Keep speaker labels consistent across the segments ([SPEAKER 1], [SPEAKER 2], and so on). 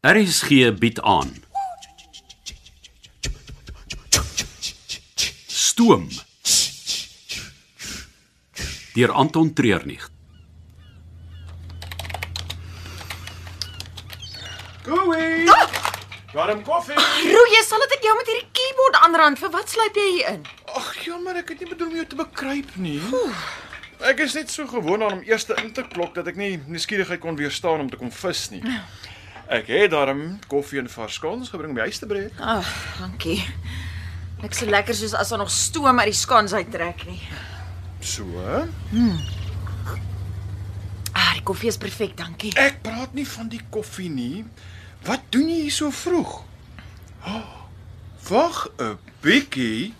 [SPEAKER 1] RSG bied aan. Stoom. Deur Anton Treurnig.
[SPEAKER 2] Koei. Got him koffie.
[SPEAKER 3] Roo, jy sal dit ek jou met hierdie keyboard aanrand. Vir wat sluip jy hier in?
[SPEAKER 2] Ag, jammer, ek het nie bedoel om jou te bekruip nie. Ek is net so gewoond aan om eers te in te klok dat ek nie nuuskierigheid kon weerstaan om te kom vis nie. Ek het daarom koffie en vars skons gebring om die huis te breek.
[SPEAKER 3] Ag, oh, dankie. Niks so lekker soos as daar nog stoom uit die skans uittrek nie.
[SPEAKER 2] So, hè?
[SPEAKER 3] Ah, die koffie is perfek, dankie.
[SPEAKER 2] ek praat nie van die koffie nie. Wat doen jy hier so vroeg? Oh, Wag 'n bietjie.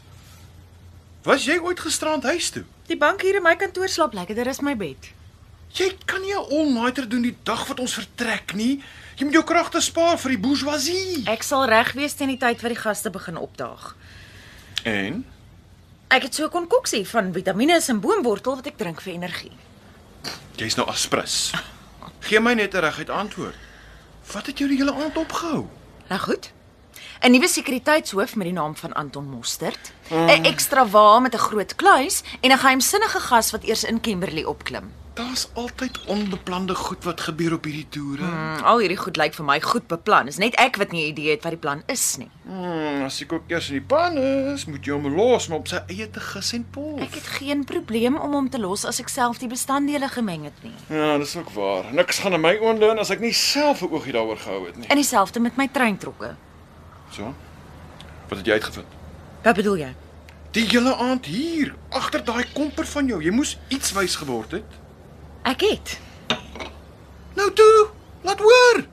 [SPEAKER 2] Was jy ooit gisterand huis toe?
[SPEAKER 3] Die bank hier in my kantoor slaap lekkerder as my bed.
[SPEAKER 2] Jy kan nie 'n all-nighter doen die dag wat ons vertrek nie. Jy moet jou kragte spaar vir die bourgeoisie.
[SPEAKER 3] Ek sal reg wees teen die tyd wat die gaste begin opdaag.
[SPEAKER 2] En
[SPEAKER 3] Ek het so 'n konkoksie van vitamiene en boomwortel wat ek drink vir energie.
[SPEAKER 2] jy's nou aspres. Gee my net 'n reguit antwoord. Wat het jou die hele aand opgehou?
[SPEAKER 3] Nou goed. 'n Nuwe sekuriteitshoof met die naam van Anton Mostert, 'n ekstra wa met 'n groot kluis en 'n geheimsinnige gas wat eers in Kimberley opklim.
[SPEAKER 2] Daar's altyd onbeplande goed wat gebeur op hierdie toere.
[SPEAKER 3] Mm, al hierdie goed lyk vir my goed beplan. Is net ek wat nie 'n idee het wat die plan is nie.
[SPEAKER 2] Hmm, as ek ook eers in die pan is, moet jy hom los maar op sy eie te gis en
[SPEAKER 3] Ek het
[SPEAKER 2] pof.
[SPEAKER 3] geen probleem om hom te los as ek self die bestanddele gemeng het nie.
[SPEAKER 2] Ja, dis ook waar. Niks gaan in my oonde in as ek nie self 'n oogie daaroor gehou het nie.
[SPEAKER 3] En dieselfde met my treintrokke.
[SPEAKER 2] So. Wat het jy uitgevind?
[SPEAKER 3] Wat bedoel jy?
[SPEAKER 2] Die hele aand hier, agter daai komper van jou. Jy moes iets wys geword het.
[SPEAKER 3] Ek het.
[SPEAKER 2] Nou toe, laat hoor.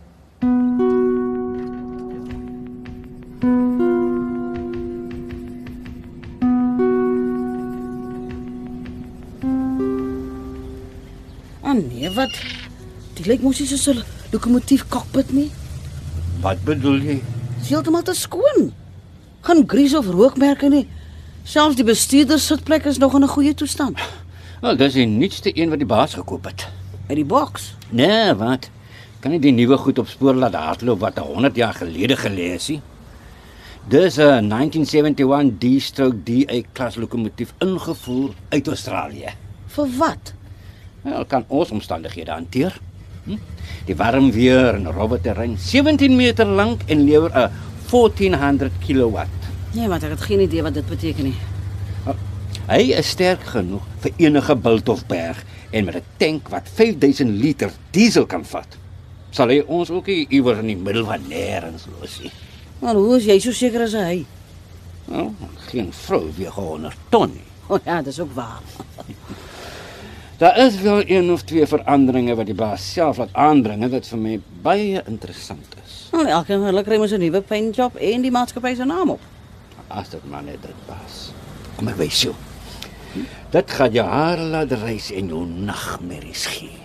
[SPEAKER 4] Ah nee, wat? Dit lyk mos nie soos 'n lokomotief cockpit nie.
[SPEAKER 5] Wat bedoel jy?
[SPEAKER 4] Dit is heeltemal te skoon. Geen grease of rookmerke nie. Selfs die bestuurder sitplek is nog in 'n goeie toestand.
[SPEAKER 5] Wel, dis die nuutste een wat die baas gekoop het.
[SPEAKER 4] Uit die boks.
[SPEAKER 5] Nee, wat? Kan nie die nuwe goed op spoor laat hardloop wat 100 jaar gelede gelê is nie. Dis 'n 1971 D-stroke DA klas lokomotief ingevoer uit Australië.
[SPEAKER 4] Vir wat?
[SPEAKER 5] Wel, kan ons omstandighede hanteer. Hm? Die warm weer en robbe terrein, 17 meter lank en lewer 'n 1400 kilowatt.
[SPEAKER 4] Nee, maar ek het geen idee wat dit beteken nie.
[SPEAKER 5] Hy is sterk genoeg vir enige bult of berg en met 'n tank wat 5000 liter diesel kan vat. Sal hy ons ook nie iewers in die middel van nêrens los nie.
[SPEAKER 4] Maar hoe is jy so seker as hy?
[SPEAKER 5] Nou, geen vrou weeg 100 ton nie.
[SPEAKER 4] O oh, ja, dis ook waar.
[SPEAKER 5] Daar is wel een of twee veranderinge wat die baas self laat aanbring en wat vir my baie interessant is.
[SPEAKER 4] Nou, elke hulle kry mos 'n nuwe pynjob en die maatskappy se naam op.
[SPEAKER 5] As dit maar net dit was. Kom ek wys jou. Dit gaan jou hare laat reis en jou nagmerries gee.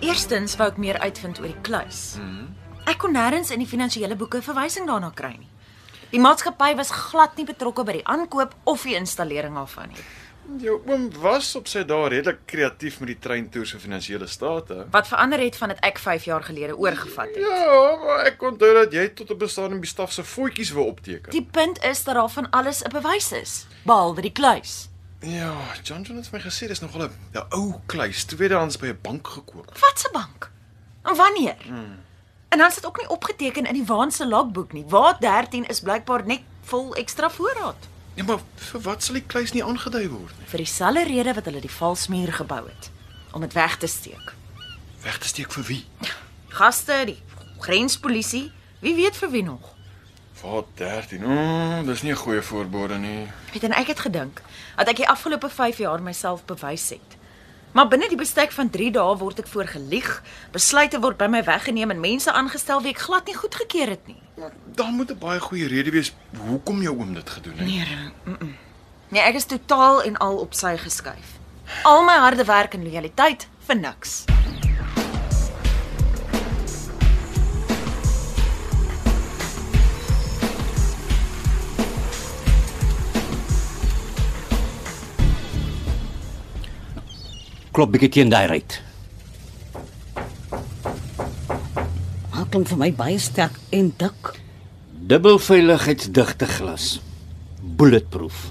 [SPEAKER 3] Eerstens wou ek meer uitvind oor die kluis. Ek kon nêrens in die finansiële boeke verwysing daarna kry nie. Die maatskappy was glad nie betrokke by die aankoop of die installering daarvan nie.
[SPEAKER 2] Jou oom was op sy dae redelik kreatief met die treintoer se finansiële state.
[SPEAKER 3] Wat verander het van dit ek 5 jaar gelede oorgevat het.
[SPEAKER 2] Ja, maar ek onthou dat jy tot 'n bestaande staf se voetjies wou opteken.
[SPEAKER 3] Die punt is dat daar van alles 'n bewys is, behalwe die kluis.
[SPEAKER 2] Ja, John John het vir my gesê dis nogal 'n 'n ou kluis, tweedehands by 'n bank gekoop.
[SPEAKER 3] Wat se bank? En wanneer? En dan sit ook nie opgeteken in die Waan se logboek nie. Waar 13 is blykbaar net vol ekstra voorraad
[SPEAKER 2] Ja, maar vir wat sal die kluis nie aangedui word nie?
[SPEAKER 3] vir dieselfde rede wat hulle die valsmuur gebou het om dit weg te steek.
[SPEAKER 2] Weg te steek vir wie?
[SPEAKER 3] Gaste, die grenspolisie, wie weet vir wie nog.
[SPEAKER 2] Vir 13. O, Mm, dis nie 'n goeie voorbode nie.
[SPEAKER 3] Weet en ek het gedink dat ek die afgelope 5 jaar myself bewys het. Maar binne die bestek van 3 dae word ek voorgelieg, besluite word by my weggeneem en mense aangestel wie ek glad nie goedgekeur het nie.
[SPEAKER 2] Maar daar moet 'n baie goeie rede wees hoekom jou oom dit gedoen het.
[SPEAKER 3] Nee, mm -mm. nee, ek is totaal en al op sy geskuif. Al my harde werk en lojaliteit vir niks.
[SPEAKER 5] klop bietjie teen daai ruit.
[SPEAKER 4] Haar klink vir my baie sterk en dik.
[SPEAKER 5] Dubbel veiligheidsdigte glas. Bulletproof.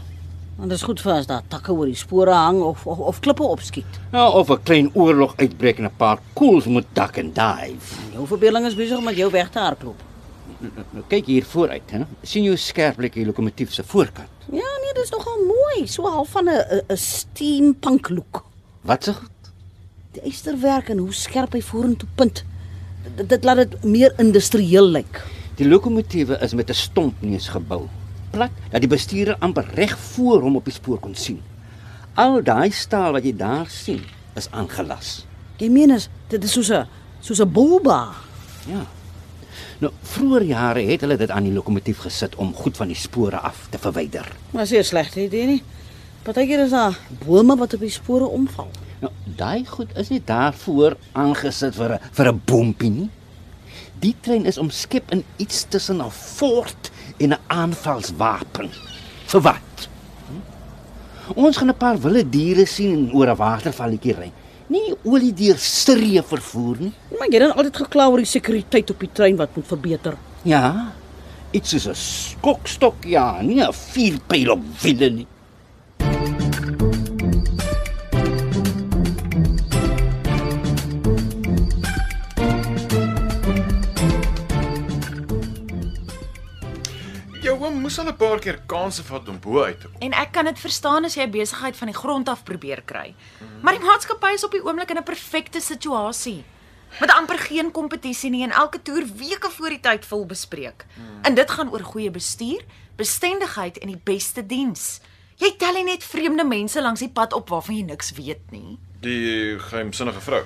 [SPEAKER 4] En dis goed vir as daar takke oor die spore hang of of, of klippe opskiet.
[SPEAKER 5] Ja, of 'n klein oorlog uitbreek en 'n paar koels moet dak en dive.
[SPEAKER 4] Jou verbeelding is besig om met jou weg te hardloop.
[SPEAKER 5] Nou kyk hier vooruit, hè. sien jy hoe skerp lyk die lokomotief se voorkant?
[SPEAKER 4] Ja, nee, dis nogal mooi, so half van 'n 'n- 'n steampunk look.
[SPEAKER 5] Wat se goed?
[SPEAKER 4] Die ysterwerk en hoe skerp hy vorentoe punt. Dit, dit laat dit meer industrieel lyk.
[SPEAKER 5] Die lokomotiewe is met 'n stompneus gebou, plat dat die bestuurder amper reg voor hom op die spoor kon sien. Al daai staal wat jy daar sien, is aangelas.
[SPEAKER 4] Jy meen as dit is soos 'n soos 'n bulba.
[SPEAKER 5] Ja. Nou, vroeër jare het hulle dit aan die lokomotief gesit om goed van die spore af te verwyder.
[SPEAKER 4] Maar seer slegte idee nie. Partykeer is daar bome wat op die spore omval.
[SPEAKER 5] Nou, daai goed is nie daarvoor aangesit vir 'n vir 'n bompie nie. Die trein is omskep in iets tussen 'n fort en 'n aanvalswapen. Vir wat? Hm? Ons gaan 'n paar wilde diere sien en oor 'n watervalletjie ry. Nie olie deur Sirië vervoer nie.
[SPEAKER 4] Maar jy het dan altyd gekla oor die sekuriteit op die trein wat moet verbeter.
[SPEAKER 5] Ja. Iets soos 'n skokstok, ja, nie 'n vuurpyl op wiele nie.
[SPEAKER 2] Jou oom moes al 'n paar keer kansse vat om bo uit te kom.
[SPEAKER 3] En ek kan dit verstaan as jy 'n besigheid van die grond af probeer kry. Maar die maatskappy is op die oomblik in 'n perfekte situasie. Met amper geen kompetisie nie en elke toer weke voor die tyd vol bespreek. En dit gaan oor goeie bestuur, bestendigheid en die beste diens. Jy tel nie net vreemde mense langs die pad op waarvan jy niks weet nie.
[SPEAKER 2] Die geheimsinnige vrou.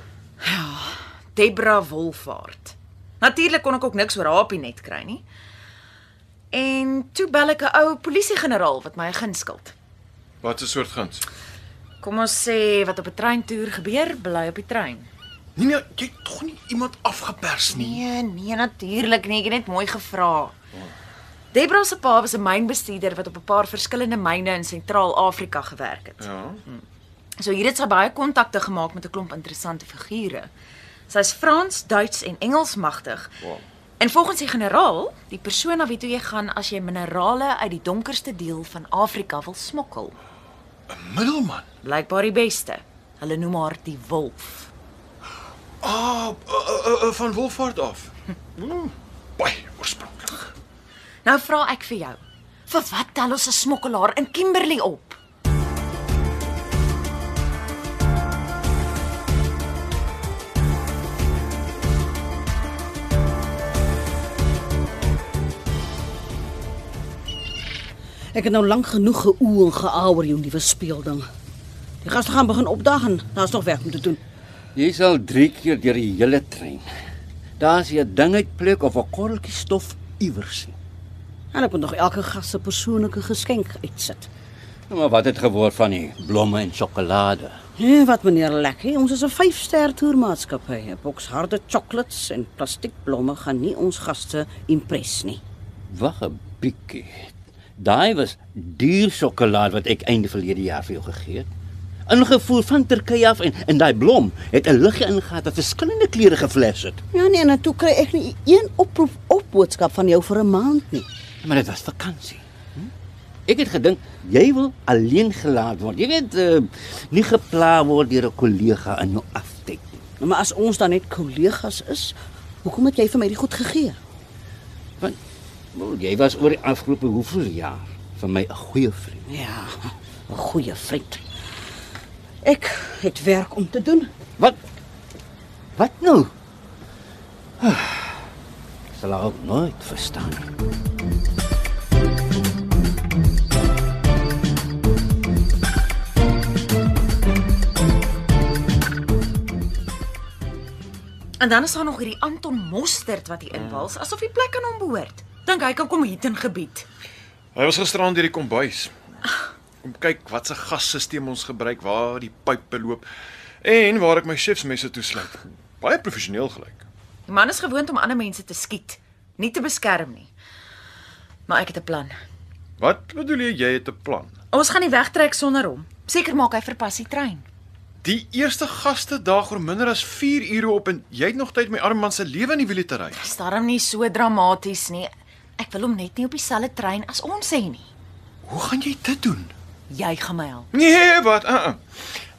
[SPEAKER 3] Debra Wolfaart. Natuurlik kon ek ook niks oor haar op die net kry nie. En toe bel ek 'n ou polisiegeneraal wat my 'n guns skuld.
[SPEAKER 2] Wat 'n soort guns?
[SPEAKER 3] Kom ons sê wat op 'n treintoer gebeur, bly op die trein.
[SPEAKER 2] Nee nee, jy het tog nie iemand afgepers nie.
[SPEAKER 3] Nee, nee, natuurlik nie. Ek het net mooi gevra.
[SPEAKER 2] Oh.
[SPEAKER 3] Debra se pa was 'n mynbestuurder wat op 'n paar verskillende myne in Sentraal-Afrika gewerk het.
[SPEAKER 2] Ja.
[SPEAKER 3] So hier het sy baie kontakte gemaak met 'n klomp interessante figure. Sy's Frans, Duits en Engels magtig.
[SPEAKER 2] Wow.
[SPEAKER 3] En volgens die generaal, die persoon na wie toe jy gaan as jy minerale uit die donkerste deel van Afrika wil smokkel.
[SPEAKER 2] Middelman.
[SPEAKER 3] Blykbaar die beste. Hulle noem haar die wolf.
[SPEAKER 2] Ah, uh, uh, uh, van Wolfhard af. Oeh, Baie oorspronklik.
[SPEAKER 3] Nou vra ek vir jou. Vir wat tel ons 'n smokkelaar in Kimberley op?
[SPEAKER 4] Ek het nou lank genoeg geoe en geaa oor jou nuwe speelding. Die gaste gaan begin opdag en daar's nog werk om te doen.
[SPEAKER 5] Jy sal 3 keer deur die hele trein. Daar's 'n dingetplek of 'n korreltjie stof iewers. nie.
[SPEAKER 4] En ek moet nog elke gas se persoonlike geskenk uitsit.
[SPEAKER 5] Nou maar wat het geword van die blomme en sjokolade?
[SPEAKER 4] Ja, wat meneer Lekkie, ons is 'n 5-ster toermaatskappy. 'n Boks harde chocolates en plastiekblomme gaan nie ons gaste impres nie.
[SPEAKER 5] Wag 'n bietjie. Daai was duur sjokolade wat ek einde verlede jaar vir jou gegee het. Ingevoer van Turkye af en en daai blom het 'n liggie ingegaan wat verskillende kleure geflash het.
[SPEAKER 4] Ja nee, en toe kry ek nie een oproep of boodskap van jou vir 'n maand nie.
[SPEAKER 5] Maar dit was vakansie. Hm? Ek het gedink jy wil alleen gelaat word. Jy weet, uh, nie gepla word deur 'n kollega in jou aftek nie.
[SPEAKER 4] Nou, Maar as ons dan net kollegas is, hoekom het jy vir my die goed gegee?
[SPEAKER 5] Want wel, jy was oor die afgelope hoeveel jaar vir my 'n goeie vriend.
[SPEAKER 4] Ja, 'n goeie vriend. Ek het werk om te doen.
[SPEAKER 5] Wat Wat nou? Ek Sal haar ook nooit verstaan. nie.
[SPEAKER 3] En dan is daar nog hierdie Anton Mostert wat hier inwals, asof die plek aan hom behoort. Dink hy kan kom hier in gebied.
[SPEAKER 2] Hy was gisteraan deur die kombuis. Kom kyk wat se gasstelsel ons gebruik, waar die pype loop en waar ek my chefsmesse toesluit. Baie professioneel gelyk.
[SPEAKER 3] Die man is gewoond om ander mense te skiet, nie te beskerm nie. Maar ek het 'n plan.
[SPEAKER 2] Wat bedoel jy jy het 'n plan?
[SPEAKER 3] Ons gaan nie wegtrek sonder hom. Seker maak hy verpas die trein.
[SPEAKER 2] Die eerste gaste daag oor minder as 4 ure op en jy het nog tyd om my arm man se lewe in die wiele te ry.
[SPEAKER 3] Is daarom nie so dramaties nie. Ek wil hom net nie op dieselfde trein as ons hê nie.
[SPEAKER 2] Hoe gaan jy dit doen?
[SPEAKER 3] Jy gaan my help.
[SPEAKER 2] Nee, wat? Uh -uh.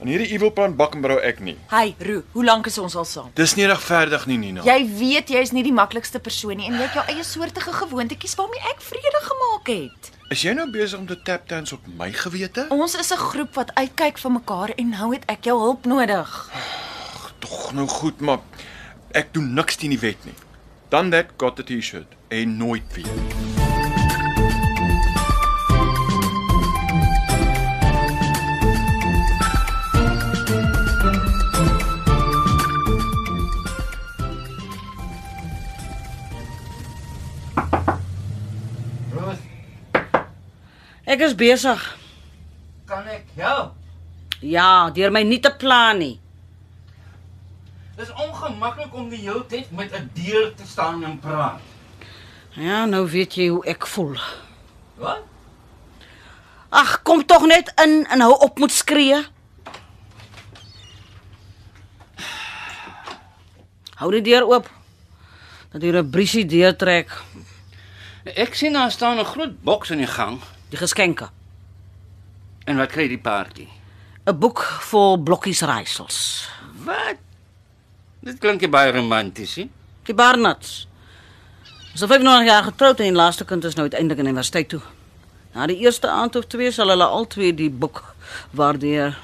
[SPEAKER 2] Aan hierdie evil plan bakkenbrou ek nie.
[SPEAKER 3] Hey, Roo, hoe lank is ons al saam?
[SPEAKER 2] Dis nie regverdig nie, Nina.
[SPEAKER 3] Jy weet jy is nie die maklikste persoon nie en jy het jou eie soortige gewoontetjies waarmee ek vrede gemaak het.
[SPEAKER 2] Is jy nou besig om te tap dance op my gewete?
[SPEAKER 3] Ons is 'n groep wat uitkyk vir mekaar en nou het ek jou hulp nodig.
[SPEAKER 2] Tog nou goed, maar ek doen niks teen die wet nie. Dan that got the T-shirt en nooit weer.
[SPEAKER 4] Ek is besig.
[SPEAKER 5] Kan ek help?
[SPEAKER 4] Ja, deur my nie te pla nie.
[SPEAKER 5] Dis ongemaklik om die hele tyd met 'n dier te staan en praat.
[SPEAKER 4] Ja, nou weet jy hoe ek voel.
[SPEAKER 5] Wat?
[SPEAKER 4] Ag, kom tog net in en hou op met skree. Hou die deur oop. Dat hier 'n briesie deur trek,
[SPEAKER 5] Ek sien daar staan 'n groot boks in die gang.
[SPEAKER 4] die geskenke.
[SPEAKER 5] En wat kry die party?
[SPEAKER 4] 'n Boek vol blokkies raaisels.
[SPEAKER 5] Wat? Dit klink nie baie romanties nie.
[SPEAKER 4] Die Barnards. Ons het 95 jaar getroud en die laaste kind is nou uiteindelik aan die universiteit toe. Na die eerste aand of twee sal hulle albei die boek waardeer.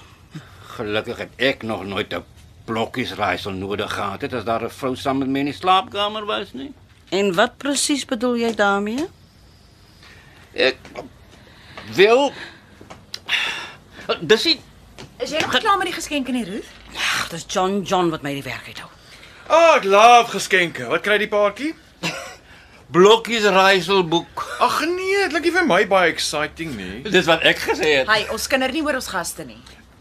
[SPEAKER 5] Gelukkig het ek nog nooit 'n blokkiesraaisel nodig gehad het as daar 'n vrou saam met my in die slaapkamer was nie.
[SPEAKER 4] En wat presies bedoel jy daarmee?
[SPEAKER 5] Ek wil Dis nie
[SPEAKER 3] Is jy nog klaar met die geskenke nie, Roo?
[SPEAKER 4] Ag, dis John John wat my die werk het hou.
[SPEAKER 2] Ah, ek laaf geskenke. Wat kry die paartjie?
[SPEAKER 5] blokkiesraaiselboek.
[SPEAKER 2] Ag nee, dit klink nie vir my baie exciting nie.
[SPEAKER 5] Dis wat ek gesê het.
[SPEAKER 3] Hey, ons kinder nie oor ons gaste nie.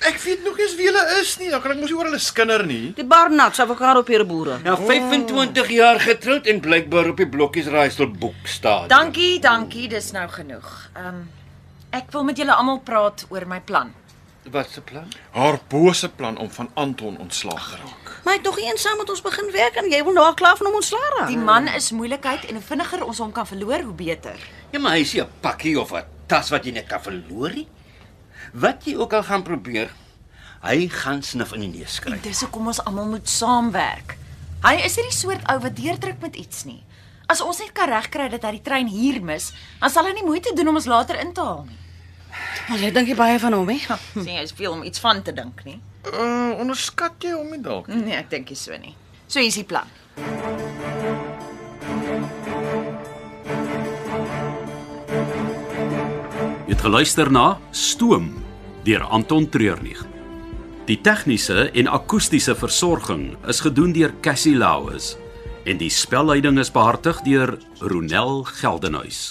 [SPEAKER 2] Ek weet nog nie eens wie hulle is nie. Dan kan ek mos nie oor hulle skinder nie.
[SPEAKER 4] Die Barnards, avokado pereboere.
[SPEAKER 5] Na 25 jaar getroud en blykbaar op die blokkiesraaiselboek staan.
[SPEAKER 3] Dankie, dankie, dis nou genoeg. Ehm um, ek wil met julle almal praat oor my plan.
[SPEAKER 5] Wat se plan?
[SPEAKER 2] Haar bose plan om van Anton ontslaag te raak.
[SPEAKER 4] Maar hy het nog eens saam met ons begin werk en jy wil nou al klaar van hom ontslaa raak.
[SPEAKER 3] Die man is moeilikheid en hoe vinniger ons hom kan verloor, hoe beter.
[SPEAKER 5] Ja, maar hy is nie 'n pakkie of 'n tas wat jy net kan verloor nie. Wat jy ook al gaan probeer, hy gaan snif in die neus kry.
[SPEAKER 3] En dis hoekom ons almal moet saamwerk. Hy is nie die soort ou wat deurdruk met iets nie. As ons net kan regkry dat hy die trein hier mis, dan sal hy nie moeite doen om ons later in te haal nie.
[SPEAKER 4] Maar jy dink jy baie van hom, hè?
[SPEAKER 3] Sien jy, is veel om iets van te dink nie.
[SPEAKER 2] Uh, onderskat jy hom nie dalk?
[SPEAKER 3] Nee, ek dink nie so nie. So hier's die plan.
[SPEAKER 1] Jy het geluister na Stoom deur Anton Treurnig. Die tegniese en akoestiese versorging is gedoen deur Cassie Lauis en die spelleiding is behartig deur Ronel Geldenhuys.